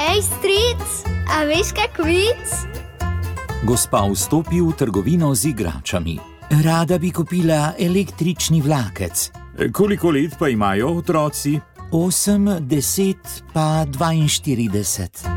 Hej, stric, a veš kak vic? Gospa vstopi v trgovino z igračami. Rada bi kupila električni vlakec. Koliko let pa imajo otroci? 8, 10 pa 42.